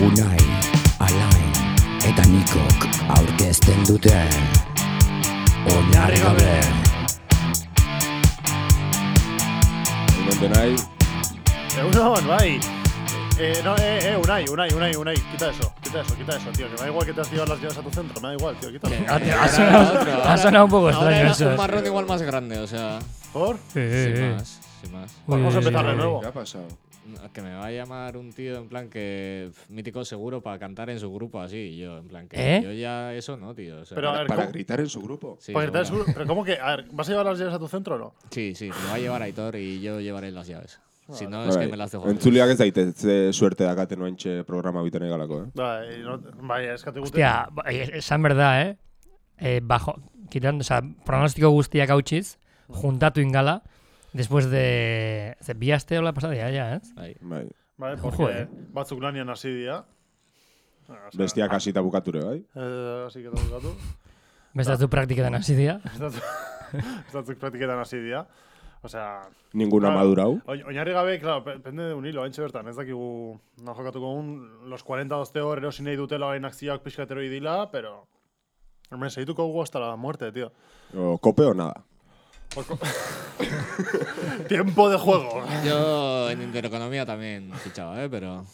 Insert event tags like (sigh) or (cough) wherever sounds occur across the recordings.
Unai, Alain eta Nikok aurkezten dute Oinarri gabe Egunon denai, (laughs) Egunon, bai. Eh, no, eh, eh, Unai, Unai, Unai, Unai, quita eso, quita eso, quita eso, tío, que me da igual que te activas las llaves a tu centro, me da igual, tío, quítalo. Ah, Ha, ha sonado, ha sonado un poco Ahora extraño era eso. un marrón igual más grande, o sea. ¿Por? Eh, eh, sin eh. más, sin más. Uy, Vamos a uy, uy, empezar de uy. nuevo. eh, ¿qué ha pasado? No, Que me va a llamar un tío en plan que pf, mítico seguro para cantar en su grupo así. y Yo, en plan que ¿Eh? yo ya eso no, tío. o sea, Pero pues, a ver, Para ¿cómo, gritar en su grupo. sí, para gritar seguro. su- pero ¿cómo que? A ver, ¿vas a llevar las llaves a tu centro o no? Sí, sí, me va a llevar Aitor y yo llevaré las llaves. Si no, es Bai, que me las dejo. Entzuleak ez daitezte suerte dakaten oentxe programa biten galako, eh? Bai, no, bai, eskatu gute. Hostia, ba- eh, esan berda, eh? eh bajo, quitando, o sea, pronostiko guztiak hautsiz, juntatu ingala, después de... Ze bi aste hola pasadea, ya, eh? Ahí. Bai. Bai, porque Joder. batzuk lanian hasi dira. Ah, o sea, Bestiak hasita bukature, bai? Eh, así que (laughs) dauzkatu. Beste zu praktiketan hasi dira. Batzuk praktiketan hasi dira. Osea, Ninguna Claro. madurau. Oin- Oinarri gabe, claro, pe- pende de un hilo, haintxe bertan, ez dakigu na jokatuko un, los 40 dozteo erosi nahi dutela gain akzioak pixkatero idila, pero... Hemen, segituko gugu hasta la muerte, tío. (laughs) O kope o nada. Oko- Tiempo de juego. Yo en intereconomía también fichaba, ¿eh? Pero.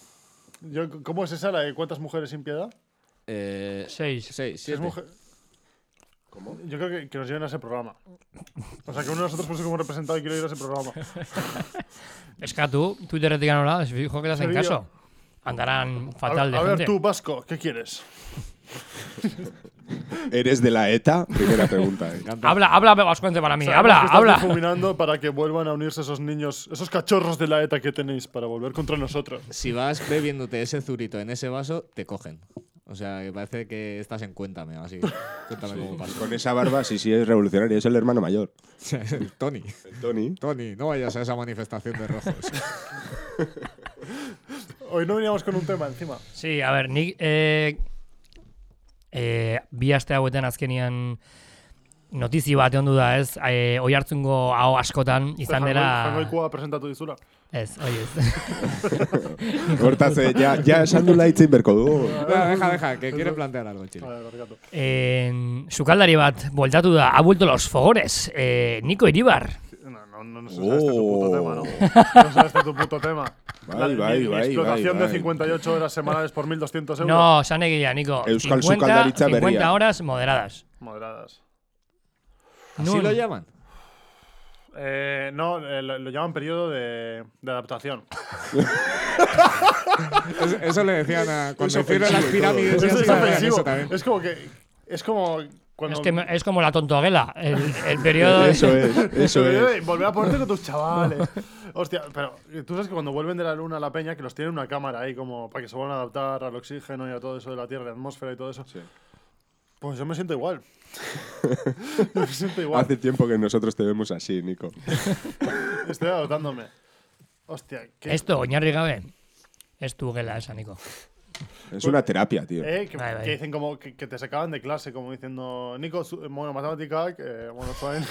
Yo, ¿Cómo es esa la de cuántas mujeres sin piedad? Eh, Seis. seis, Si es siete. mujer... Yo creo que, que nos lleven a ese programa. O sea, que uno de nosotros puso como representado y quiero ir a ese programa. Eskatu, Twitterretik anola, es fijo que te hacen Serio? caso. Andarán A, fatal de a ver, gente. tú, Vasco, ¿qué quieres? ¿Eres de la ETA? Primera pregunta, (laughs) eh. Canta. Habla, habla, Vascuence para mí, Sabemos habla, que estás habla. difuminando para que vuelvan a unirse esos niños, esos cachorros de la ETA que tenéis para volver contra nosotros. Si vas bebiéndote ese zurito en ese vaso, te cogen. O sea, que parece que estás en Cuéntame o así. Cuéntame cómo (laughs) pasó. Con esa barba, sí, sí, es revolucionario. Es el hermano mayor. Tony, El Tony. Tony, no vayas a esa manifestación de rojos. Hoy no veníamos con un tema encima. Sí, a ver, nik eh, eh, bi aste hauetan azkenian notizi bat ondu da, ez? Eh, oi hartzungo hau askotan Pues izan dela... Jangoikua presentatu dizula. Ez, oi ez. (laughs) Hortaz, eh, ja, ja esan du laitzen berko dugu. deja, deja, que quiere plantear algo, A chile. ver, barkatu. Eh, sukaldari bat bueltatu da, ha vuelto los fogores, eh, Niko Iribar. No, no, no, no se sabe este tu puto tema, ¿no? No se sabe este tu puto tema. Bai, La- mi- bai, mi bai, explotación bai, de bai. 58 horas semanales por 1.200 euros. No, san egia, Niko. Euskal 50, sukaldaritza 50 berria. horas moderadas. Moderadas. ¿Así Nun. lo llaman? Eh, no, eh, lo, lo llaman periodo de, de adaptación. Eso le decían a cuando Es hicieron las ofensivo pirámides Eso es ofensivo. Es como que. Es como. Cuando Es que me- es como la tontoguela, el, el periodo... (laughs) de- Eso es, eso es. Ey, Volver a ponerte con (laughs) tus chavales. Hostia, pero tú sabes que cuando vuelven de la luna a la peña, que los tienen una cámara ahí como para que se vuelvan a adaptar al oxígeno y a todo eso de la Tierra, la atmósfera y todo eso. Pues yo me siento (laughs) igual. (laughs) yo me siento igual. Hace tiempo que nosotros te vemos así, Nico. Estoy adaptándome. Hostia, ¿qué? Esto, oinarri gabe, ez du gela esan, Niko. Es una terapia, tío. Eh, que, Bai, bai. que dicen como que, que te sacaban de clase, como diciendo, Nico, zu- bueno, matematikak, eh, bueno, (laughs) zuen,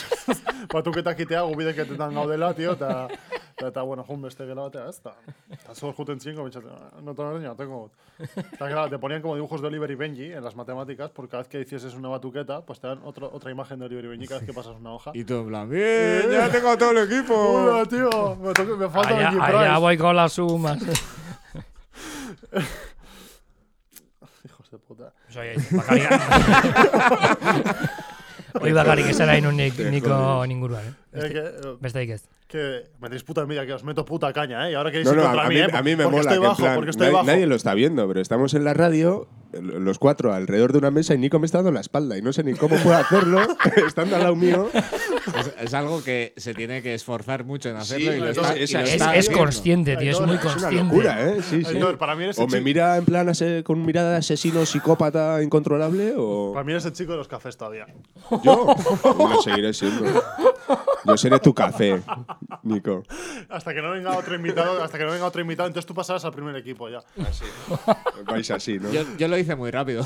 batuketa kitea, gubideketetan gaudela, tio, eta, eta, eta, bueno, jun beste gela batea, ez da. Eta zor juten zinko, bitxatzen, no te lo tengo. Eta, claro, te ponían como dibujos de Oliver y Benji en las matemáticas, porque cada vez que hicieses una batuqueta, pues te dan otro, otra imagen de Oliver y Benji cada vez que pasas una hoja. Y tú en plan, bien, ya tengo todo el equipo. Hola, tío, me, toca- me falta Allá, Benji allá Price. voy con las sumas. Hijos de puta. Soy (laughs) bakarrik. Hoi bakarrik esara inunik niko ninguruan, eh? Eh, Beste, que, eh, besteik ez. Que me tenéis puta envidia, que os meto puta caña, ¿eh? Y ahora queréis No, ir no, contra a mí, mí, ¿eh? a mí me porque mola. estoy que en bajo, plan, porque estoy nadie, bajo. nadie lo está viendo, pero estamos en la radio, los cuatro alrededor de una mesa y Nico me está dando la espalda y no sé ni cómo puedo hacerlo (laughs) estando al lado mío. Es, es algo que se tiene que esforzar mucho en hacerlo Sí, y lo entonces está, y esa- lo Pero Es, está es haciendo. consciente, tío, es muy Es una Es una consciente. locura, ¿eh? Sí, sí. Aitor, para mí eres o el me chi- mira en plan ase- con mirada de asesino, psicópata, incontrolable, o Para mí eres el chico de los cafés todavía. yo. Lo seguiré siendo. Yo seré tu café. Nico. Hasta que no venga otro invitado, hasta que no venga otro invitado, entonces tú pasarás al primer equipo ya. Vais así, ¿no? Yo, yo lo hice muy rápido.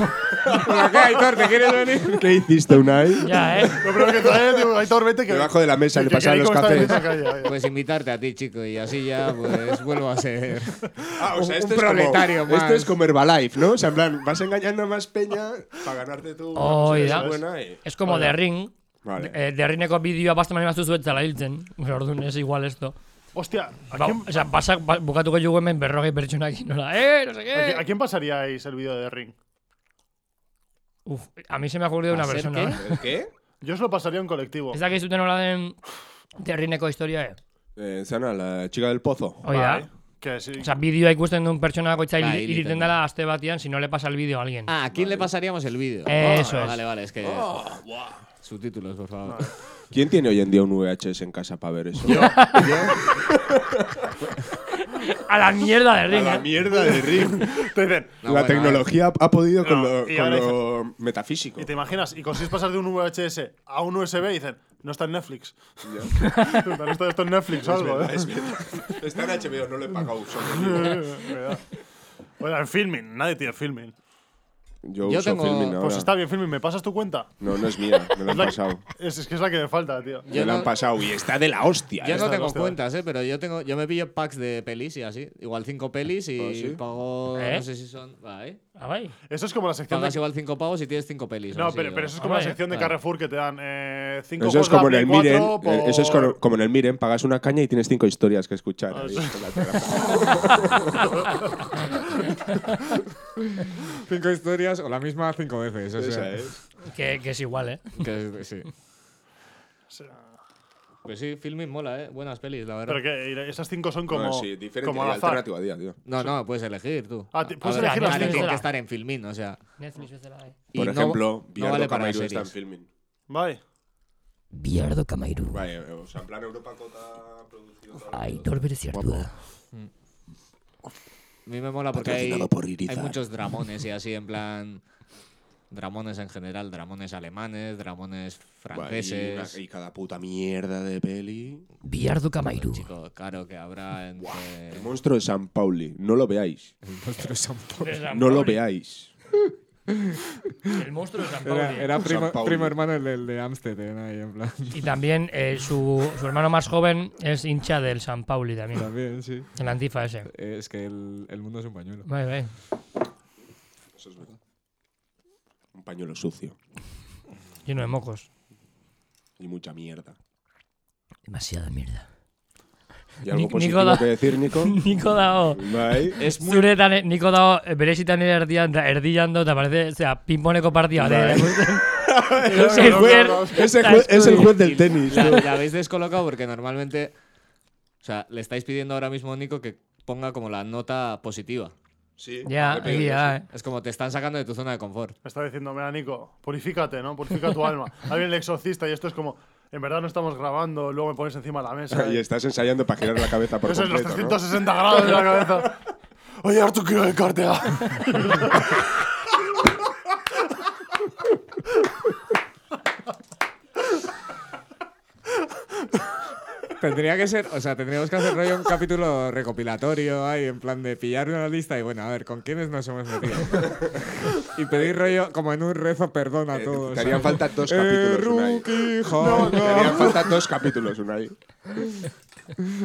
(laughs) Hola, ¿Qué, Aitor? ¿Te quieres venir? ¿Qué hiciste, Unai? (laughs) Ya, ¿eh? Lo primero que trae, digo, Aitor, vete que. Debajo de la mesa que- le que- pasan que los Nico está en (laughs) cafés. esa calle, ya, ya. Pues invitarte a ti, chico, y así ya pues vuelvo (laughs) a ser. Ah, o sea, Un- esto un es como- proletario más. Esto es como Herbalife, ¿no? O sea, en plan, vas engañando a más peña para ganarte tú. una cosa que Oida. es buena y- Es como The Ring. Vale. Eh, The Ringeko bideoa basten bali mazu zuetzala hiltzen. Orduan ez igual esto. Hostia, ¿a Ba, quién, o sea, basak ba, bukatuko jugu hemen berrogei pertsonakin, (laughs) nola, eh, no sé a qui- a qué. quién pasaríais el vídeo de Ring? Uf, a mí se me ha ocurrido una ¿Hacer persona. qué? eh. ¿Qué? Yo se lo pasaría a un colectivo. Ez dakit zuten nola den The Ringeko historia, eh? ah. Eh, Zana, la chica del pozo. Hoi da. Que sí. O sea, bideoa ikusten duen pertsona bakoitza Bai, hil- hiliten hiliten da. dela aste batean, si no le pasa el vídeo a alguien. Ah, ¿a quién le pasaríamos el vídeo? Ah, Eso es. Vale, vale, es que. Subtítulos, por favor. ¿Quién tiene hoy en día un VHS en casa para ver (laughs) eso? A la mierda de A Ring, la eh. mierda de (laughs) Ring. No, la bueno, tecnología ha podido con No, lo, y con ahora lo metafísico. Y te imaginas, y consigues pasar de un VHS a un USB y dicen, no está en Netflix. no está esto (laughs) en Netflix o algo, ¿eh? Es verdad. (laughs) Está en HBO, no lo he pagado. Bueno, en filming, nadie tiene filming. Yo, Yo uso tengo- Filmin ahora. Pues está bien, filming, ¿me pasas tu cuenta? No, no es mía, me Es, la (laughs) han la- pasado. es- es que es la que me falta, tío. Yo me la no- han pasado y está de la hostia. Yo ¿eh? no tengo hostia. cuentas, eh, pero yo tengo, yo me pillo packs de pelis y así. Igual cinco pelis y ¿Ah, sí? pago. ¿Eh? No sé si son. Vale. Ah, bai. Eso es como la sección Pagas de... igual cinco pavos y tienes cinco pelis. No, así, pero, o- pero eso es como la Hombre, sección de vale. Carrefour que te dan eh, cinco Eso es juegos de la como en el Play Miren. 4 eh, Eso es por- como, como en el Miren, pagas una caña y tienes cinco historias que escuchar. Ah, ahí, con la (laughs) tela. Cinco historias o la misma cinco veces. O Esa sea, es. Que, que es igual, eh. ¿eh? que es- sí. Pues sí, filming mola, eh. Buenas pelis, la verdad. Pero que esas cinco son como, Bueno, sí, diferente como y al azar. alternativa, tío, tío. No, no, puedes elegir tú. Ah, te- A- a puedes ver, elegir a- las a- Tiene cinco. que estar en filming, o sea. Netflix bezala, eh. y Por no- ejemplo, no Biardo vale para Camairu está en series. filming. (laughs) Vale. Biardo Kamairu, Vale, eh, o sea, en plan Europa Cota producido. tal. aitor bereziartua. A mí me mola porque hay, Patrocinado por hay Irizar. muchos dramones y así, en plan. Dramones en general, dramones alemanes, dramones Vale, y, una- franceses. y cada puta mierda de peli. Biardo Kamairu, Chico, claro que habrá El entre. monstruo de San Pauli, no lo veáis. De San No lo Pauli. veáis. El monstruo de San Pauli. primo- Pauli. primo hermano del de Amsterdam ahí, en plan. (laughs) Y también eh, su, su hermano más joven es hincha del San Pauli también. También, sí. El antifa ese. Es que el, mundo es un pañuelo. Bai, bai. Eso es verdad. Un pañuelo sucio Lleno de mocos. y mucha mierda. demasiada (laughs) mierda. ¿Y algo Nico positivo da- que decir, (laughs) Nico? Niko dago. Bai. Es muy. Zure eta niko dago eh, berezitan ere erdian, da- erdian do, eta parece, o sea, pinponeko partia (laughs) eh, bat. (laughs) Es el juez, es el juez- es el juez del tenis. La, tú. la habéis descolocado porque normalmente. O sea, le estáis pidiendo ahora mismo a Nico que ponga como la nota positiva. Sí. Ja, egia da, eh. Es como te están sacando de tu zona de confort. Me está diciendo, mira, Nico, purifícate, ¿no? Purifica tu alma. Hay el exorcista y esto es como, en verdad no estamos grabando, luego me pones encima de la mesa. (laughs) Y estás ensayando para girar la cabeza por Eso es los completo, ¿no? Eh, 360 grados de la cabeza. (laughs) Oye, Artu, quiero el ah. cártega. Tendría que ser, o sea, tendríamos que hacer rollo un capítulo recopilatorio ahí, en plan de pillar una lista y bueno, a ver, ¿con quiénes nos hemos metido? y pedir rollo como en un rezo perdón a Eh, todos. Eh, te harían falta dos capítulos, Unai. Te harían falta dos capítulos, Unai.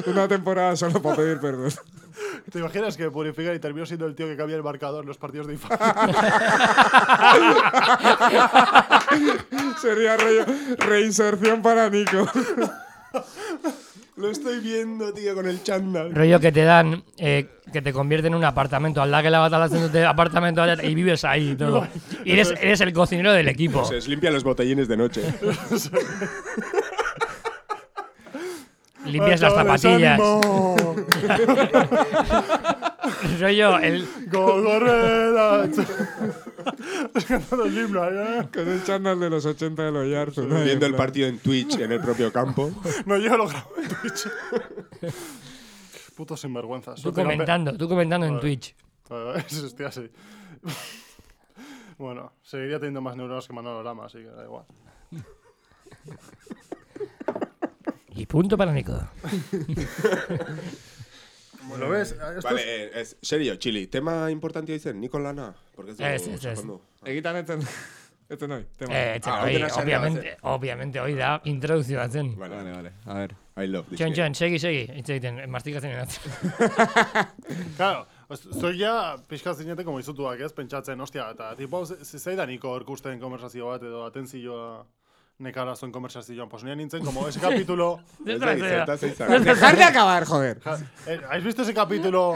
Una temporada solo para pedir perdón. (laughs) ¿Te imaginas que purifica y termino siendo el tío que cambia el marcador en los partidos de infancia? eh. (laughs) Sería rollo reinserción para Nico. Lo estoy viendo, tío, con el chándal. Rollo que te dan, eh, que te convierte en un apartamento. Aldakela bat alatzen dute apartamento bat, y vives ahí y todo. Y eres, eres el cocinero del equipo. Se les limpia los botellines de noche. (laughs) Limpias las Chavales, zapatillas. ánimo. (laughs) Rollo, el, ¡Gogorrera! (laughs) Cantando el himno, ¿eh? Con el chándal de los 80 de los Yarzu. Viendo el partido en Twitch en el propio (laughs) campo. No, yo lo grabo en Twitch. Puto sinvergüenza. tú comentando, tú comentando en Twitch. (laughs) Eso estoy así. Bueno, seguiría teniendo más neuronas que Manolo Lama, así que da igual. Y Punto para Nico. ¿Lo ves? Esto Vale, es- eh, ez, serio, Chili, tema importantia izen, Niko lana? Porque ez dugu Ez, ez, ez. sakondu. Egitan eten, eten hoi, tema. Eh, etxera, Ah, hori, ordena zerga obviamente, obviamente, hori da, introduzioa zen. Vale, Vale, vale, a ver. I love this Txon, game. txon, segi, segi, hitz egiten, mastikatzen edatzen. (laughs) Claro, zoi ja pixka zineten como izutuak ez, pentsatzen, ostia, eta tipo, ze- ze- zeidaniko orkusten konversazio bat edo atentzioa nekarazon konversazioan, pues nian nintzen, como ese (laughs) capítulo... Ez da, izerta zeizan. Dejar de acabar, joder. Ja, eh, ¿Habéis visto ese capítulo?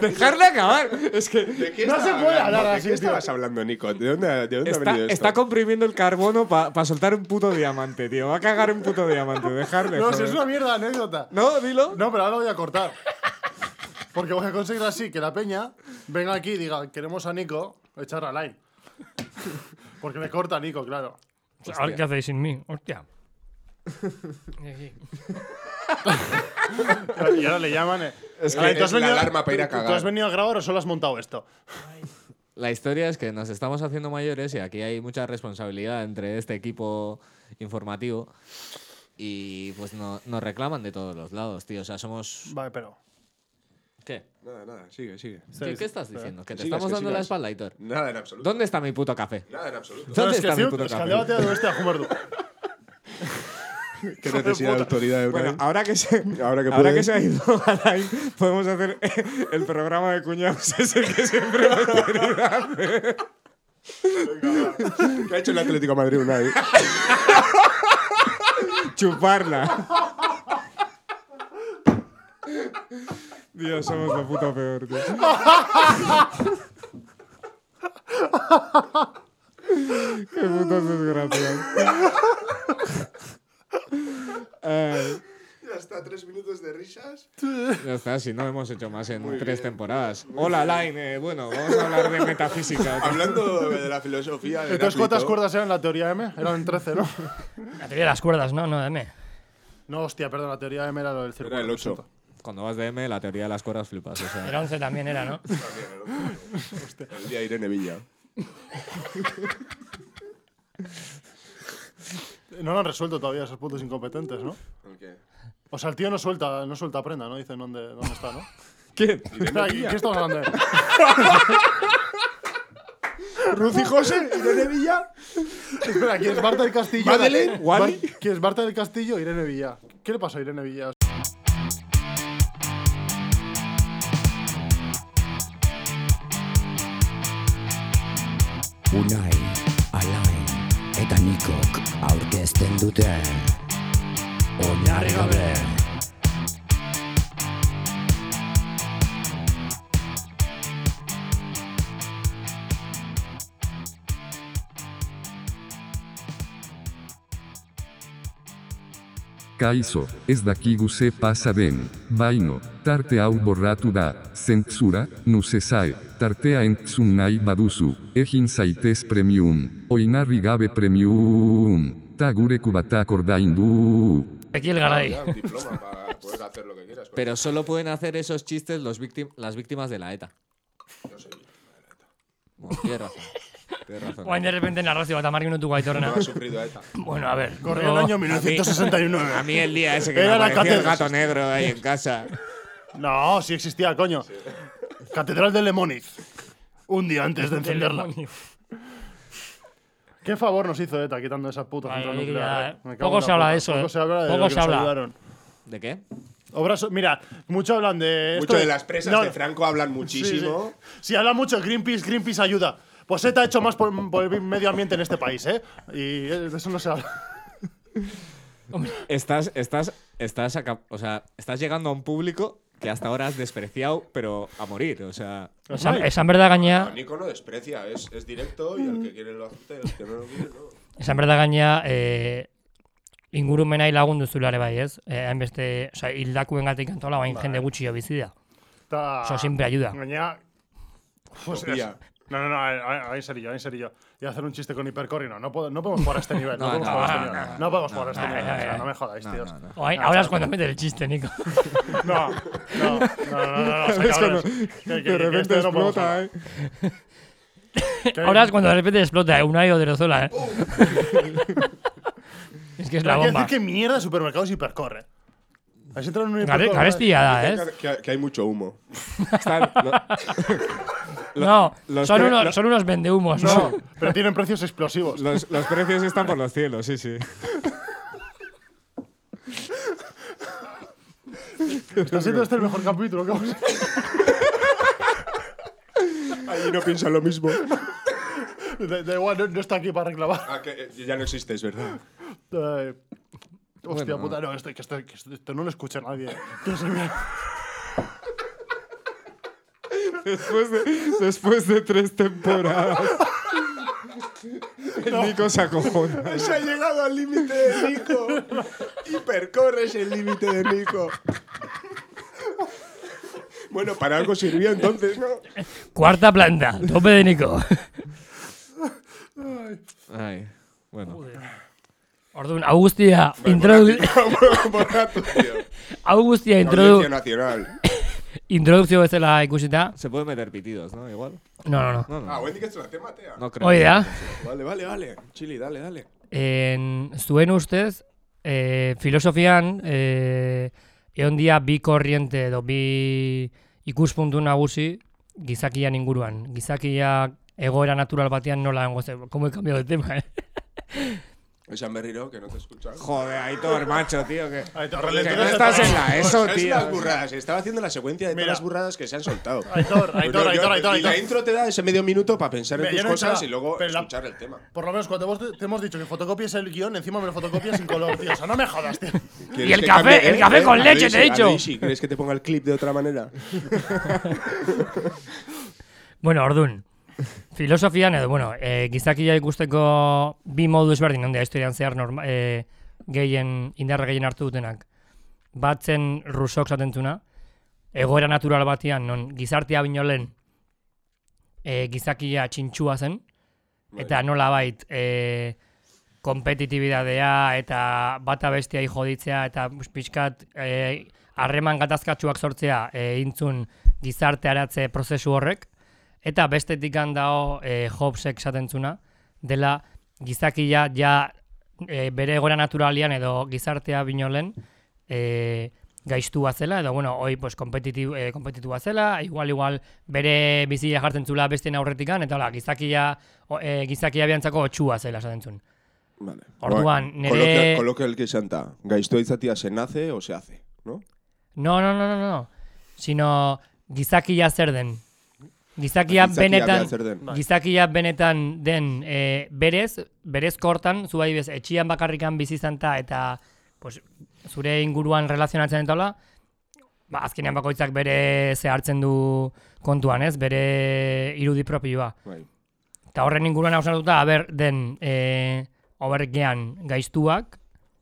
Dejar de acabar. Es que ¿De qué No estaba se puede hablando? hablar ¿De así, qué tío. estabas hablando, Nico? ¿De dónde, ha- de dónde ha está, venido esto? está comprimiendo el carbono para soltar un puto diamante, tío. Va a cagar un puto diamante. Dejar de. No, si joder. es una mierda de anécdota. No, dilo. No, pero ahora lo voy a cortar. Porque voy a conseguir así que la peña venga aquí y diga, queremos a Nico echar a Lai. Porque le corta a Nico, claro. Ahora, ¿qué hacéis sin mí? Hostia. Y ahora le llaman... eh, Es que "Lai, ¿tú es has la venido- alarma para ir a tú- ¿Tú cagar". has venido a grabar o solo has montado esto? La historia es que nos estamos haciendo mayores y aquí hay mucha responsabilidad entre este equipo informativo y pues no- nos reclaman de todos los lados, tío. O sea, somos... Vale, pero... ¿Qué? Nada, nada, sigue, sigue. ¿Qué, Sí, qué sí, estás espera. diciendo? ¿Que te sigas, estamos que dando la sigas. espalda, Hitor? Nada en absoluto. ¿Dónde está mi puto café? Nada en absoluto. ¿Dónde es que está mi ziur, puto es que café? (laughs) alde batean beste ajumar du. Qué necesidad de autoridad de una Bueno, vez. ahora que se, Ahora que puede. se ha ido (laughs) Alain, podemos hacer el programa de cuñados (laughs) ese que siempre hemos querido hacer. ah. ¿Qué ha hecho el Atlético de (laughs) Madrid una vez? Chuparla. Dios, somos lo puto peor, tío. Qué putas desgracias. Ay, Ya está, tres minutos de risas. ya está, si no hemos hecho más en tres temporadas. Hola, Line. eh, bueno, vamos a hablar de metafísica. tío. Hablando de la filosofía de Entonces, ¿cuántas Heráclito, cuerdas eran la teoría M? Eran 13, ¿no? (laughs) La teoría de las cuerdas, ¿no? No, dame. No, hostia, perdón, la teoría M era lo del círculo. Era el 8. Cuando vas de M, la teoría de las cuerdas flipas. O sea, El 11 también era, ¿no? El día de (laughs) Irene Villa. No lo han resuelto todavía esos putos incompetentes, ¿no? O sea, el tío no suelta, no suelta prenda, ¿no? Dicen dónde, dónde está, ¿no? ¿Quién? (laughs) Espera, ¿qué, qué estamos hablando? de? Ruzi José, Irene Villa. Espera, ¿quién es Marta del Castillo? Madeleine, Wally. Bar- ¿Quién es Marta del Castillo? Irene Villa. ¿Qué le pasó a Irene Villa? Unai, Alain eta Nikok aurkezten dute Oinarri gabe Kaixo, ez dakigu ze pasa den, baino, tarte hau borratu da, zentzura, nuzezae, tartea entzun nahi baduzu, egin zaitez premium, oinarri gabe premium, ta gure kubatak ordaindu. Aquí el garay. un diploma para poder hacer lo que quieras. Pero solo pueden hacer esos chistes los víctim- las víctimas de la ETA. Bueno, tienes (laughs) razón. Tienes razón. Guain de repente narrazio bat amarri minutu gaitorrena. ha sufrido ETA. (laughs) Bueno, a ver. Corría el yo- año 1969. A mí el día ese que Era me la apareció el cátedra. gato negro ahí en casa. (laughs) No, sí existía, coño. Catedral de Lemoniz. Un día antes de (laughs) del encenderla. demonio. ¿Qué favor nos hizo ETA quitando esa puta Ay, central ya, nuclear? eh. Me cago Poco en la se habla puta. de eso, Poco eh. se habla de Poco lo que se nos habla. ayudaron. ¿De qué? Obras, so- mira, mucho hablan de. esto Mucho de las presas No, de Franco hablan sí, sí. muchísimo. Si habla mucho Greenpeace, Greenpeace ayuda. Pues ETA ha hecho más por, por el medio ambiente en este país, ¿eh? Y de eso no se habla. Estás, estás, estás, aca- o sea, estás llegando a un público que hasta ahora has despreciado, pero a morir. O (laughs) sea, Esan, esan berda gaina, A Nico no desprecia, es, es directo y al que quiere lo acepta y al que no lo quiere no. esan berda gaina, eh, ingurumenai lagundu zulare bai, ez? Eh, hainbeste, oza, hildakuen gatik antola, Bai. bain jende gutxi jo bizi da. Está- Eso siempre ayuda. Gañá- Hostias. Utopía. Pues No, no, no, ahí ahí sería yo, ahí sería yo. Y hacer un chiste con hipercorrino. No, puedo- no podemos jugar a este nivel. No, No, podemos no, jugar a este no, nivel. no, No, podemos jugar a este no, nivel. no, o sea, no, no me jodáis, tíos. No, Oain, ahora ah, es cuando mete el (laughs) chiste, Nico. no, no, no, no, no, soy cabrones. Que- que- que de repente esto no podemos explota, hablar. ¿eh? Que- (laughs) (laughs) Ahora es cuando de repente explota eh, Unai Oderozola, eh. (laughs) Es que es la Hay que decir bomba. que mierda de supermercados hipercorre. Has entrado en un Gare, ¿eh? hipercorre, garestia da, Dicen ez? que- que, que hay mucho humo. Están lo- No, los son, pre- unos, lo- son unos vendehumos. No, pero tienen precios explosivos. los, los precios están por los cielos, sí, sí. Está siendo este el mejor capítulo que hemos hecho. Ahí no piensan lo mismo. Da- da igual, no, no está aquí para reclamar. Ah, que eh, ya no existes, ¿verdad? Ay, hostia Bueno. puta, no, esto, que esto, que esto- esto no lo escucha (laughs) nadie. Entonces, mira, Después de, después de tres temporadas. El Nico se acojona. Se ha llegado al límite de Nico. Y percorres el límite de Nico. Bueno, para algo sirvió entonces, ¿no? (laughs) Cuarta planta, tope (laughs) de Nico. Ay, bueno. Orduan, hau guztia (laughs) introdu (laughs) Borratu, tío. hau guztia (laughs) introdu Audiencia nacional. introdukzio bezala ikusita. Se pueden meter pitidos, ¿no? Igual. No, no, no. No, no. Ah, Wendy, que es la tema, tea. No creo. Hoi da, Vale, vale, vale. Chili, dale, dale. en, zuen ustez, eh, filosofian, eh, egon dia bi korriente edo bi ikuspuntu nagusi gizakian inguruan. Gizakia egoera natural batean nola egongo ze, como he cambiado de tema, eh? Esan berriro, que no te he escuchado. Joder, Aitor, macho, tío. Que, Aitor, que relentura no está- estás en la ESO, Es tío. las burradas. Estaba haciendo la secuencia de Mira. todas las burradas que se han (laughs) soltado. Pues Aitor, Aitor, Yo- yo- Aitor, Aitor, y La Aitor. intro te da ese medio minuto para pensar en Mira, yo tus no he hecho cosas nada, y luego pero la- escuchar el tema. Por lo menos cuando vos te, te hemos dicho que fotocopies el guión, encima me lo fotocopias sin color, tío. O sea, no me jodas, (laughs) tío. ¿Quieres Y el que café, cambie? el ¿Eh? café ¿Eh? con A leche, te Daisy, he a dicho. Daisy, ¿Crees que te ponga el clip de (laughs) otra manera? Bueno, ordun. Filosofian edo, bueno, e, gizakia ikusteko bi modu ezberdin, handia historian zehar norma, e, gehien, indarra gehien hartu dutenak. Batzen rusok zatentzuna, egoera natural batean, non gizartea bino lehen e, gizakia txintxua zen, eta nola bait, e, kompetitibidadea eta bata bestia joditzea eta pixkat e, harreman gatazkatsuak sortzea e, intzun gizarte aratze prozesu horrek, eta bestetik handao e, Hobbesek esaten zuna, dela gizakia ja e, bere egora naturalian edo gizartea binolen e, gaiztua zela, edo bueno, hoi pues, kompetitu, e, kompetitua zela, igual, igual bere bizia jartzen zula bestien aurretikan, eta hola, gizakia, o, e, gizakia biantzako otxua zela esaten zuen. Vale. Orduan, nere- Coloquia, coloquia el que santa. Gaiztua izatia se nace o se hace, ¿no? No, no, no, no, no. Sino gizakia zer den. Gizakia, Gizakia benetan, behar zer den. Bai. gizakia benetan den e, berez, berezko hortan, zu adibidez, etxian bakarrikan bizi izan ta eta pues, zure inguruan relazionatzen eta hola, ba, azkenean bakoitzak bere ze hartzen du kontuan, ez? Bere irudi propioa. Bai. Eta horren inguruan hausnatuta, aber, den, e, obergean gaiztuak,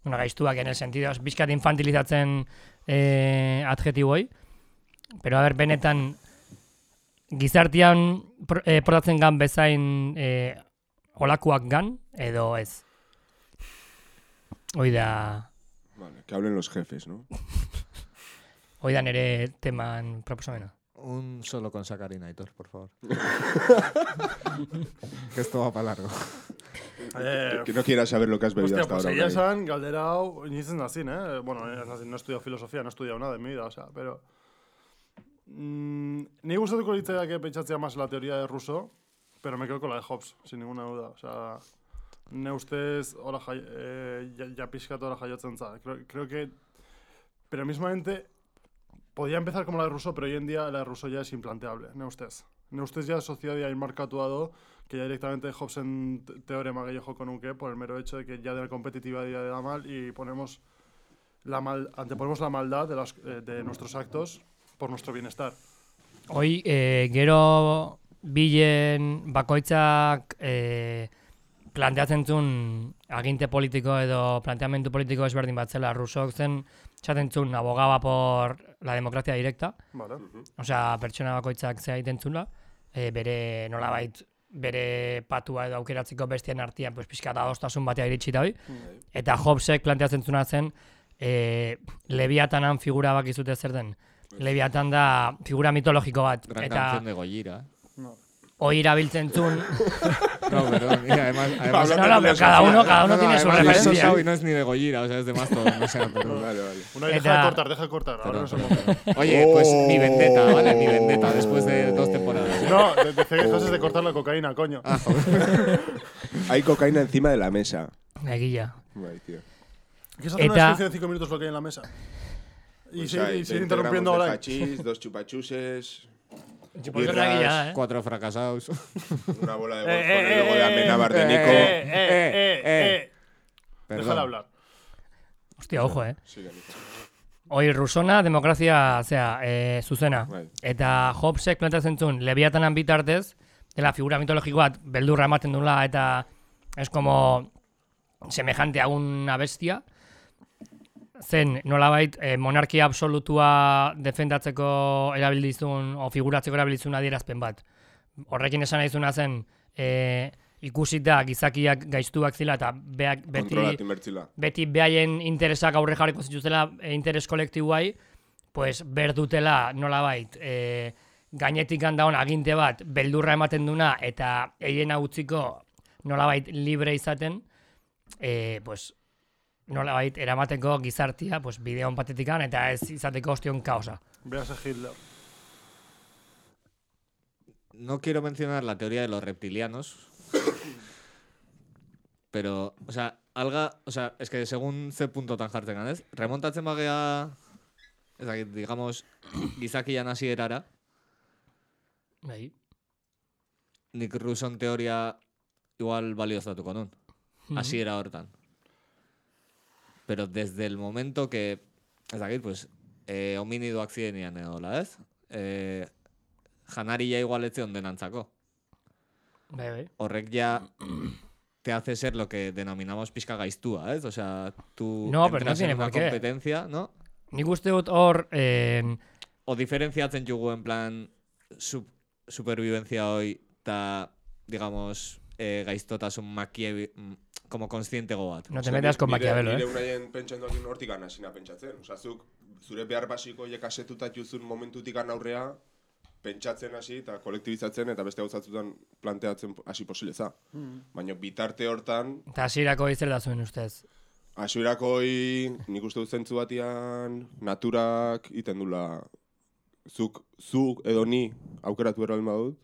bueno, gaiztuak en el sentido, ez bizkat infantilizatzen e, adjetiboi, pero aber, benetan, gizartian pro, e, portatzen gan bezain e, olakuak gan, edo ez. Hoi da, Vale, que hablen los jefes, ¿no? hoi da nere teman proposamena. Un solo con sacarina, Aitor, por favor. que esto va para largo. Eh, Que no quieras saber lo que has bebido Hostia, hasta pues ahora. ya Unai. saben, Galderao, ni dicen así, ¿eh? Bueno, ez naiz- no he estudiado filosofía, no he estudiado nada en mi vida, o sea, pero... Mm, ni gustatuko litzaidake pentsatzea más la teoría de Rousseau, pero me quedo con la de Hobbes, sin ninguna duda, o sea... Ne ustez, hola jai, eh, ja, ja pixkat hola jaiotzen za. Creo, creo que... Pero mismamente, podía empezar como la de Rousseau, pero hoy en día la de Rousseau ya es implanteable, ne ustez. Ne ustez ya sociedad inmarkatuado, que ya directamente Hobson te- teorema gehiago con un que por el mero hecho de que ya de la competitividad ya da mal y ponemos la mal, anteponemos la maldad de, las- eh, de nuestros actos por nuestro bienestar. Hoi, e, gero bilen bakoitzak e, planteatzen zuen aginte politiko edo planteamendu politiko ezberdin bat zela Rusok zen esaten zuen abogaba por la democracia directa, ¿vale? osea pertsona bakoitzak zea egiten zuela, e, bere nolabait bere patua edo aukeratzeko bestien artean pues pizka adostasun batea iritsi da hoi. Bai. Eta Hobbesek planteatzen zuna zen e, Leviatanan figura bakizute zer den. Leviatan da figura mitologiko bat Gran eta canción de Goyira. No. hoi irabiltzen (laughs) zuen. No, perdón. y (laughs) además, además- no, no, pero cada uno, cada uno No, no, tiene su además, referencia. ¿eh? es Sosau y no es ni de Goyira, o sea, es de Mastodon. O sea, perdón. Vale, vale. Bueno, deja Eta- de cortar, deja de cortar. Ahora no se mueve. Oye, pues mi vendetta, ¿vale? Mi Oh. vendetta después de dos temporadas. (laughs) No, de- de- dejases de cortar la cocaína, coño. Ah, Hay cocaína encima de la mesa. Egia. Bai, tío. ¿Quieres hacer una Eta- descripción de 5 minutos lo que hay en la mesa? Y Pues seguir y hay 20 seguir interrumpiendo gramos de ahora. hachís, dos chupachuses, Txipollonak birras, egia, eh? Cuatro fracasados. una bola de golf Eh, con eh, el logo de eh, Amenábar de eh, Nico. Eh, eh, eh, Eh, eh. Perdón. Déjala hablar. Hostia, ojo, eh. Sí, Nico. Hoi rusona, demokrazia, zera, e, zuzena. Bai. Eta Hobbesek plantatzen zuen, lebiatanan bitartez, dela figura mitologiko bat, beldurra ematen duela, eta es como semejante a una bestia. Zen, nolabait, e, monarkia absolutua defendatzeko erabilizun, o figuratzeko erabilizun adierazpen bat. Horrekin esan nahi zuena zen, e, ikusita gizakiak gaiztuak zila eta beak, beti Kontrolatu inbertzila. beti behaien interesak aurre jarriko zituztela e, interes kolektiboai, pues berdutela nolabait e, gainetik handaon aginte bat beldurra ematen duna eta eiena utziko nolabait libre izaten, e, pues nolabait eramateko gizartia pues, bideon patetikan eta ez izateko ostion kaosa. Veas a Hitler. No quiero mencionar la teoría de los reptilianos. pero, o sea, alga, o sea, es que según C. Tanjartzen ganez, remontatzen bagea, ez dakit, digamos, gizakian hasi erara, Bai. nik Ruson teoria igual balioztatuko nun. Así era hortan. Pero desde el momento que, ez dakit, pues, eh, hominidoak zirenean edo, la ez? Eh, janaria igual etzion denantzako. Bai, bai. horrek ya te hace ser lo que denominamos pizka gaiztua, ¿eh? O sea, tú No, pero no entras tiene en una por qué. competencia, ¿no? Nik uste dut hor, eh, O diferenciatzen jugu en plan sub- supervivencia hoy ta, digamos, eh, gaiztotasun makie, como consciente goat. no te metas con Maquiavelo, nire eh? unaien pentsatu egin hortik anasina pentsatzen. Osa, zuk, zure behar basiko hiek asetuta juzun momentutik aurrea, pentsatzen hasi eta kolektibizatzen eta beste gauzatzutan planteatzen hasi posileza. Baina bitarte hortan, Eta hasierako izer da zuen ustez. Hasiberakoi nik uste dut zentzu batian naturak iten dula zuk, zuk edo ni aukeratu erral badut.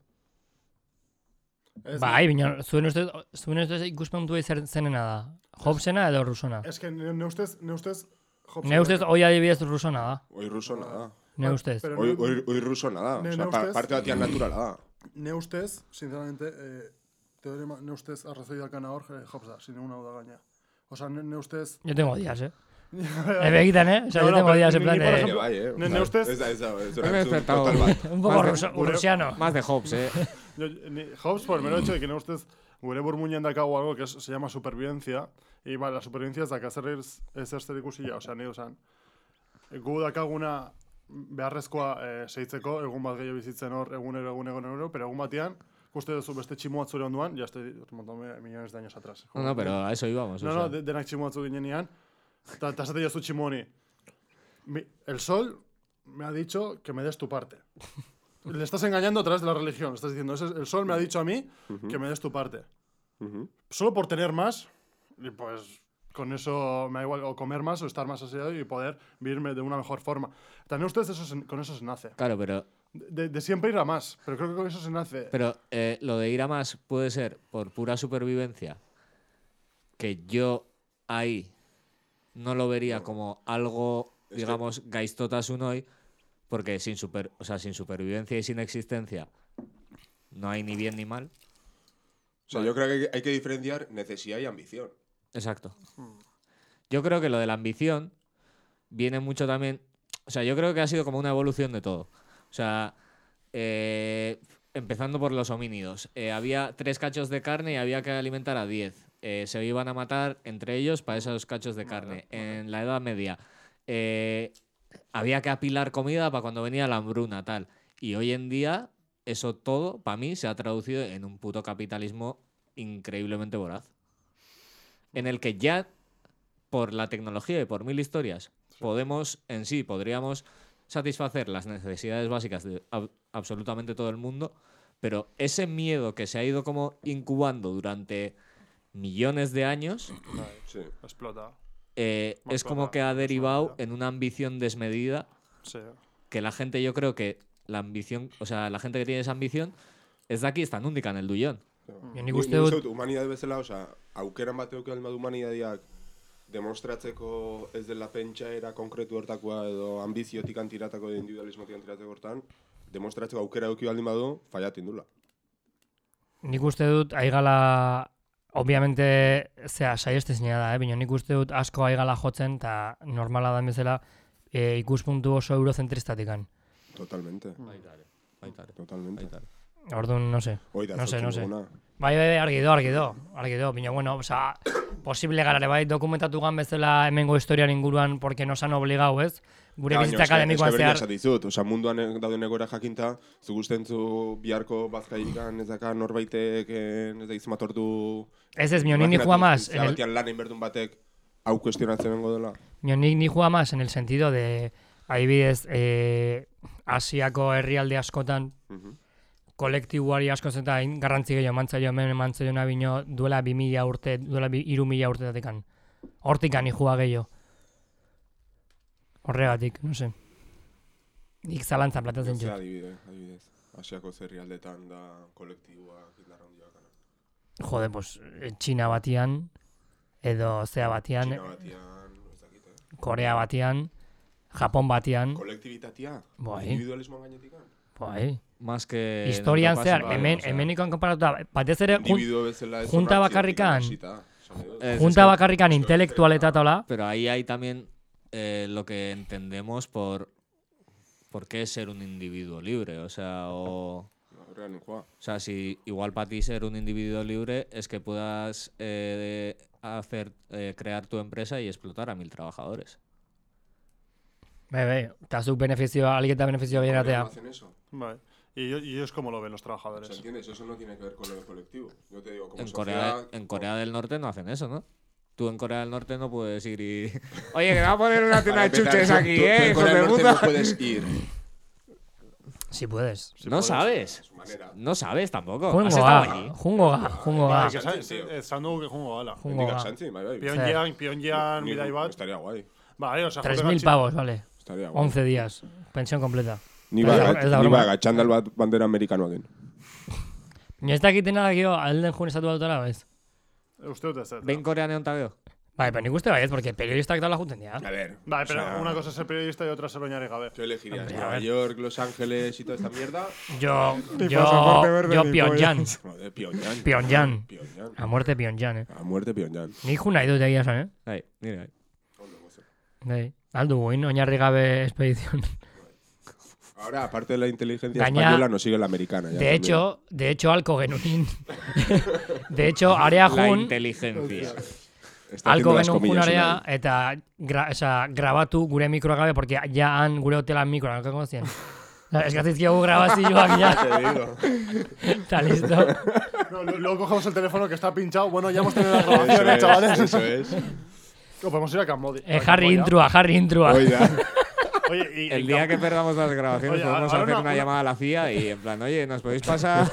Es- Bai, baina zuen ustez, zuen ustez ikuspuntua izer zenena da. Hobbesena edo Rusona? Es que ne ne ustez, ne ustez, Hobson- Ne ustez, hoi adibidez Rusona da. Oi rusona da. Ne ustez. Bai, Pero Oi, ne- oi, oi rusona da. Ne- Osa, ne pa, ustez? parte batian naturala da. Ne ustez, sinceramente, eh, teorema, ne ustez arrazoi dakana hor, eh, Hobbes da, sin ninguna duda gaina. O sea, ne, ne ustez... Yo tengo (laughs) días, eh. Ebe egiten, eh? Osa, No, yo no, tengo pero días en ni- plan ni por Ere de... ejemplo- bai, eh? Ne- Osa, ne ustez- Ez da, ez da, ez da, Me he erantzun despertado. total bat. Un poco Más de- ruso, gure- rusiano. este Más de Hobbes, ¿eh? Yo- ni- Hobbes, por el mero hecho de que ne ustez, gure burmuinan dakago algo que es- se llama supervivencia, y ba, la supervivencia ez daka zer ez ez zer ikusila, o sea, ne usan. Gu dakaguna beharrezkoa eh, seitzeko, egun bat gehiago bizitzen hor, egunero, egunero, egunero, pero egun batean, uste duzu beste tximuat zure onduan, ya estoy remontándome millones de años atrás. No, no, pero a eso íbamos. o No, sea. no, de- denak tximuatzu ginenean. Eta eta esate jozu tximoni. Mi- El sol me ha dicho que me des tu parte. Le estás engañando a través de la religión. Le estás diciendo, "Ese es- el sol me ha dicho a mí que me des tu parte. Solo por tener más, y pues con eso me da igual, o comer más o estar más asediado y poder vivirme de una mejor forma. También ustedes eso se- con eso se nace. Claro, pero, De, de siempre ir a más, pero creo que con eso se nace. pero eh, lo de ir a más puede ser por pura supervivencia. Que yo ahí no lo vería como algo, digamos, gaistotas un hoy, porque sin, super, o sea, sin supervivencia y sin existencia no hay ni bien ni mal. Osa, yo creo que hay que diferenciar necesidad y ambición. Exacto. Yo creo que lo de la ambición viene mucho también. O sea, yo creo que ha sido como una evolución de todo. O sea, eh, empezando por los homínidos. Eh, había tres cachos de carne y había que alimentar a diez. Eh, se iban a matar entre ellos para esos cachos de carne. En la Edad Media. eh, había que apilar comida para cuando venía la hambruna, tal. Y hoy en día, eso todo, para mí, se ha traducido en un puto capitalismo increíblemente voraz en el que ya por la tecnología y por mil historias podemos en sí podríamos satisfacer las necesidades básicas de ab- absolutamente todo el mundo Pero ese miedo que se ha ido como incubando durante millones de años Sí. Explota. eh, Más es clara, como que ha más derivado clara. en una ambición desmedida Sí. que la gente, yo creo que la ambición, o sea, la gente que tiene esa ambición es de aquí, está nundikan el dullón. Ni Ni- nik uste nik dut, humanidade bezala, osea, aukeran bat eukial badu humanidadiak demostratzeko ez dela pentsaera konkretu hortakoa edo ambiziotik antiratako edo individualismotik antiratako hortan, demostratzeko aukera euki baldin badu, faiatin dula. nik uste dut aigala, obviamente, zea, saiestezina da, eh? baina nik uste dut asko aigala jotzen, eta normala da bezala, e, ikuspuntu oso eurocentristatikan. Totalmente, totalmente. Orduan, no se. Hoi da, No sé, sortzen no sé. duguna. Bai, bai, bai, argi do, argi do, argi do, baina, bueno, oza, posible garare bai, dokumentatu gan bezala hemengo historian inguruan, porque nos han obligau, ez? Gure Baina, bizitza eske- akademikoan eske berdina zehar, esaten dizut, osea, munduan e- dauden egoera jakinta, zu gusten zu biharko bazkaikan ez daka norbaitek eh, ez da izmat ordu... ez ez, mion, nik ni Imaginatu, juega más, en zera el, batean lan inberdun batek hau kuestionatzen bengo dela. Nio, nik ni joa más en el sentido de, adibidez, eh, Asiako herrialde askotan, Mhm. kolektibuari asko zeta hain garrantzi gehiago mantzaio hemen mantzaio nabino duela 2000 urte, duela bi- hiru mila urtetatikan. Hortik ani joa gehiago. Horregatik, no sé. Nik zalantzan platatzen Zer dut. adibide, adibidez. Asiako zerri aldetan da kolektiboak indarra hundiak. Jode, pues, eh, Txina batian, edo zea batian, Txina batian, ez dakit, eh? Korea batian, Japón batian, Kolektibitatea? Bai. Individualismoan gainetik? bai. Más que. Historian Europa, zehar, sino- hemen, o sea, hemenikoan konparatuta, batez ere, jun- Individuo bezala ez junta onartzetik bakarrikan. Eh, hasita, esan dut. es- Junta es que- bakarrikan intelektualeta eta hola, Pero ahí hay también eh, lo que entendemos por. ¿Por qué ser un individuo libre? O sea, o. Horrean joa. O sea, si igual para ti ser un individuo libre es que puedas eh, hacer, eh, crear tu empresa y explotar a mil trabajadores. bai, bai, eta zuk benefizioa, alik eta benefizioa gehien atea. ¿Cómo hacen eso? Vale. ¿Y, ellos- y ellos cómo lo ven los O sea, trabajadores? ¿entiendes? Eso no tiene que ver con lo colectivo. Yo te digo, como En sociedad, Corea, en Corea del Norte no hacen eso, ¿no? Tú en Corea del Norte no puedes ir y. (laughs) Oye, que me va a poner una tienda Para de empezar, chuches tú- aquí, tú- tú ¿eh? en Hijo Corea de del Norte puta. No puedes ir. Si puedes. No sabes. Su manera. No sabes tampoco. Has Jungo estado ga, allí. jungo ga, jungo ga, Ah, que saben, sí, tío. eh, Sandu que jungo ala. jungo Indica ga. Santi, bai, bai. Pyongyang, Pyongyang, Ni- bidai bat. Estaría guay. Vale, o sea, 3.000 pavos, vale. Estaría guay. 11 días, pensión completa. Ni Ez ba, da- ez da ni broma. ba, txandal bat bandera amerikanoakin. Ni ez dakiten nada gio, alden jun estatu dutela, bez? Usted dut ez, ez da. Ven coreano veo. Bai, pero nik uste baiet, porque periodistak daula juten dira. A ver. Vale, o pero sea, una cosa es ser periodista y otra es ser oñare gabe. Yo elegiría Hombre, a Nueva ver. York, Los Ángeles y toda esta mierda. Jo, pasaporte jo, verde jo ni Pyongyang. Joder, Pyongyang. Pyongyang. Pyongyang. A muerte Pyongyang, eh. A muerte Pyongyang. Nik jun nahi dut egia esan, eh. Ahí, mira. ahí. Bai. Aldu guin, oinarri gabe expedizion. Ahora, aparte de la inteligencia Gaña- española, nos sigue la americana. ya De también. hecho, de hecho, alko genuin. (laughs) De hecho, area La jun... inteligencia. Está haciendo Alko las genuen comillas, junarea (laughs) Unai. eta gra, esa, grabatu gure mikroa gabe, porque ja han gure hotelan mikroa, nolko konzien. (laughs) Eskatizkiagu grabazioak ja, eta listo. No, lu- luego cogemos el teléfono que está pinchado. Bueno, ya hemos tenido la Eso grabación, ¿eh, es, chavales. Eso es. O podemos ir a Cambodia. Eh, a jarri Camboya. intrua, jarri intrua. Oiga. Oye, y, El y día Cam- que perdamos las grabaciones Oye, podemos ahora hacer una- una una- llamada a la CIA y en plan, oye, ¿nos podéis pasar?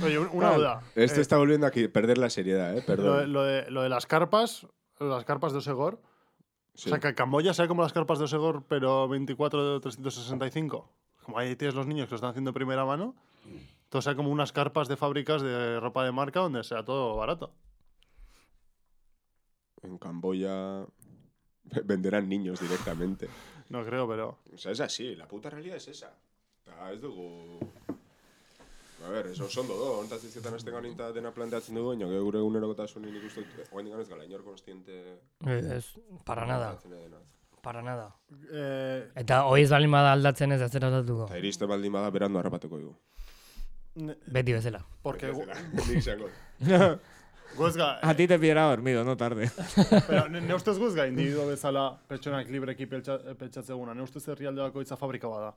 Oye, un- una duda. Esto Eh, este está volviendo a que- perder la seriedad, ¿eh? lo, de, Perdón. lo de- lo de las carpas, lo de las carpas de Osegor. Sí. O sea, que Camboya sea como las carpas de Osegor, pero 24 de 365. Como ahí tienes los niños que lo están haciendo de primera mano. Entonces sea como unas carpas de fábricas de ropa de marca donde sea todo barato. En Camboya (laughs) venderán niños directamente. No creo, pero... O sea, es así, la puta realidad es esa. Eta ez dugu... A ber, eso ondo do, hontaz izketan azten ganinta dena planteatzen dugu, baina gure egunerokotasunin ikustu, oain digan ez gala, inor konstiente... Eh, Ez, para nada, planteatzen denaz. para nada. Eh, Eta hoi ez balin bada aldatzen ez ez zer aldatuko. Eta iriste baldin bada berandu harrapatuko dugu. ne- Beti bezala. porque... Nik izango. Guezga, a ti te pillará dormido, no tarde. eh, Pero, ne, ne ustez guzga individuo bezala pertsonak libreki peltsa, pentsatzeguna. Ne ustez herrialde bakoitza fabrika bada.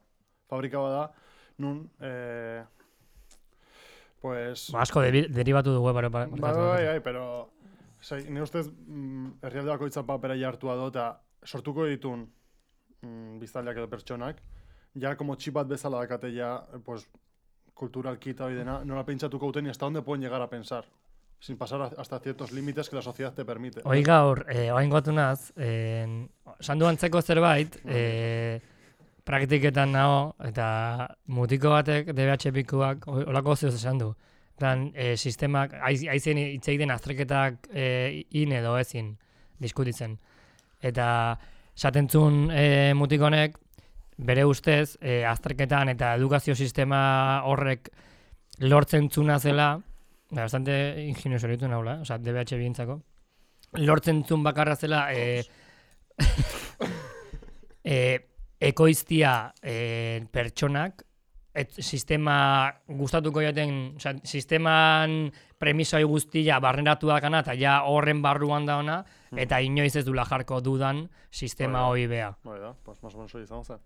Fabrika bada, nun, eh, pues... Ba, Asko debi- deribatu dugu, eh, para, Bai, bai, bai, pero... Zai, ne ustez mm, herrialde bakoitza papera jartua do, eta sortuko ditun mm, biztanleak edo pertsonak, ja, como txipat bezala dakate ja, pues, culturalki eta hori dena, nola pentsatuko duten y hasta dónde pueden llegar a pensar. Sin pasar a- hasta ciertos límites que la sociedad te permite. Hoi gaur, eh, oain gotu naz, eh, sandu antzeko zerbait, eh, praktiketan nago, eta mutiko batek DBH pikuak, oi- olako zeo esan du. Dan, eh, sistemak, aiz- aizen hitz egiten azterketak eh, in edo ezin, diskutitzen. Eta satentzun eh, mutikonek, bere ustez, eh, azterketan eta edukazio sistema horrek lortzen zuna zela, da, bastante ingenio zoritu naula, oza, DBH bientzako, lortzen zuen bakarra zela (laughs) e, e, ekoiztia e, pertsonak et, sistema gustatuko jaten oza, sisteman premisoi guztia barneratu dakana eta ja horren barruan da ona eta inoiz ez dula jarko dudan sistema Hmm. Bai. hoi bea. Bai da, pues más o menos hori izan zen.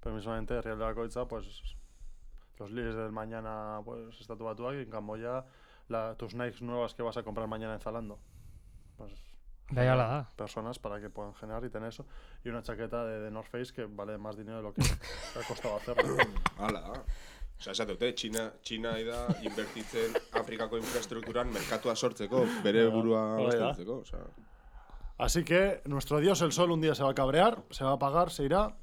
Pero mismamente herrialde bakoitza, pues los líderes del mañana, pues estatu batuak, en Camboya, la, tus Nikes nuevas que vas a comprar mañana en Zalando. Pues Bai, hala da. personas para que puedan generar y tener eso. Y una chaqueta de, de North Face que vale más dinero de (laughs) lo que ha costado hacerla. Hala. Osa, esate dute, Txina, Txina da invertitzen Afrikako infrastrukturan merkatua sortzeko, bere burua hori da. baztertzeko. Osa, Así que nuestro dios el sol un día se va a cabrear, se va a apagar, se irá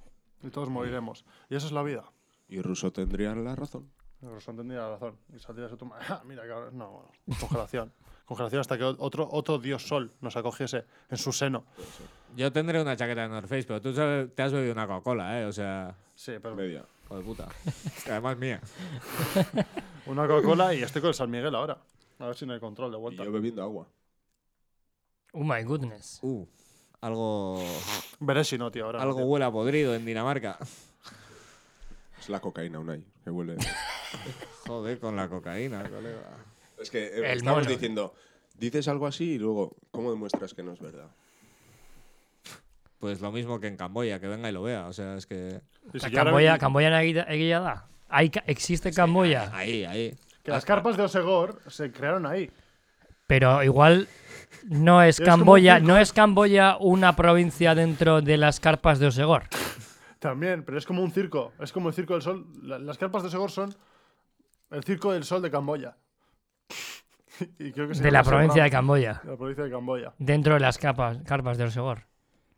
y todos moriremos. Y eso es la vida. irruso tendrían la razón. Rosón tendría la razón. Y saldría su tumba. (laughs) "Ja, mira, cabrón. No, bueno, congelación. (laughs) Congelación hasta que otro, otro dios sol nos acogiese en su seno. Yo tendré una chaqueta de North Face, pero tú sabes- te has bebido una Coca-Cola, ¿eh? O sea, Sí, pero Media. hijo de puta. Es que Además mía. una Coca-Cola y estoy con el San Miguel ahora. A ver si no hay control de Y vuelta. yo bebiendo agua. Oh my goodness. Uh, algo, Veré si no, tío, ahora. algo huele a podrido en Dinamarca. Es la cocaína, Unai. Que huele. Joder, con la cocaína, colega. (laughs) es que eh, El estamos mono. diciendo, dices algo así y luego, ¿cómo demuestras que no es verdad? Pues lo mismo que en Camboya, que venga y lo vea. O sea, es que. Y si Eta yo ahora- Kamboia, Kamboian egia, egia da. Ai, existe Kamboia, Ahí, ahí. Que las carpas de Osegor se crearon ahí. pero igual no es Es como un Camboya, circo. no es Camboya una provincia dentro de las carpas de Osegor. También, pero es como un circo. Es como el circo del sol. La- las carpas de Osegor son el circo del sol de Camboya. (laughs) Y creo que se De llama la ese provincia de programa. Camboya. De la provincia de Camboya. Dentro de las capas, carpas de Osegor.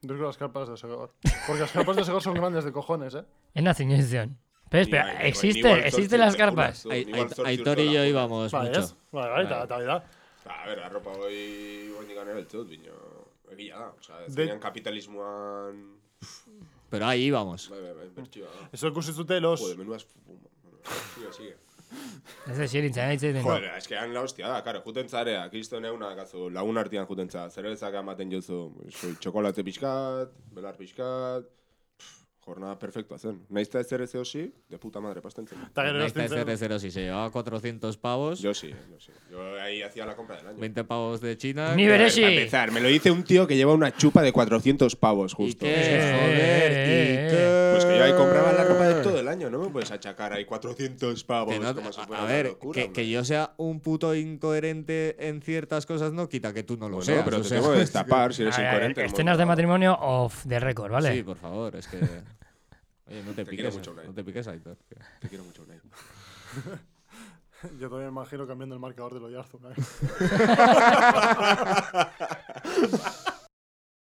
Yo creo las carpas de Osegor. Porque las carpas de Osegor son grandes de cojones, ¿eh? En la civilización. Pero, Ni bai- espera, ni bai- ni existe, igual existen zortzi las urte carpas. juratu, Ai- ni igual Ai- zortzi Aitor y urtera yo joko. íbamos Vale, mucho. ez? Vale, vale, eta, eta, eta. Ba, a ber, arropa hoi oindik gane beltzut, bino, egia da. Osa, ez De- de... kapitalismoan, Pero ahí íbamos. bai, bai, bai, bertxioa da. Eso ikusi zute los... Jode, menuaz, sigue, sigue. Ez da xeritzen, ez da Joder, eske han la hostia da, karo, juten zarea, kristo neuna dakazu, lagun artian juten zara, zerezak amaten jozu, soi, txokolate pixkat, belar pixkat, pff, jornada perfectua zen. Naizta ez ere zehosi, de puta madre, pasten zen. Eta gero Esta erosten zen- SR0 si se llevaba 400 pavos, Yo sí, yo sí. Yo ahí hacía la compra del año. 20 pavos de China. Ni Para beresi. empezar, me lo dice un tío que lleva una chupa de 400 pavos ¿Y justo. qué? Eh, Joder, ¿y eh, qué? Pues que yo ahí compraba la ropa de todo el año, no me puedes achacar ahí 400 pavos. Que no- como si fuera a una ver, locura, que, hombre. que yo sea un puto incoherente en ciertas cosas no quita que tú no lo Bueno, seas. pero o te sea, tengo (laughs) que destapar si eres incoherente. pues Escenas de mono. matrimonio off the record, ¿vale? Sí, por favor, es que. Oye, no te, Te quiero piques, mucho, Unai. no te piques, Aitor. que- Te quiero mucho, Unai. Yo todavía me imagino cambiando el marcador del Oyarzun. ¿eh?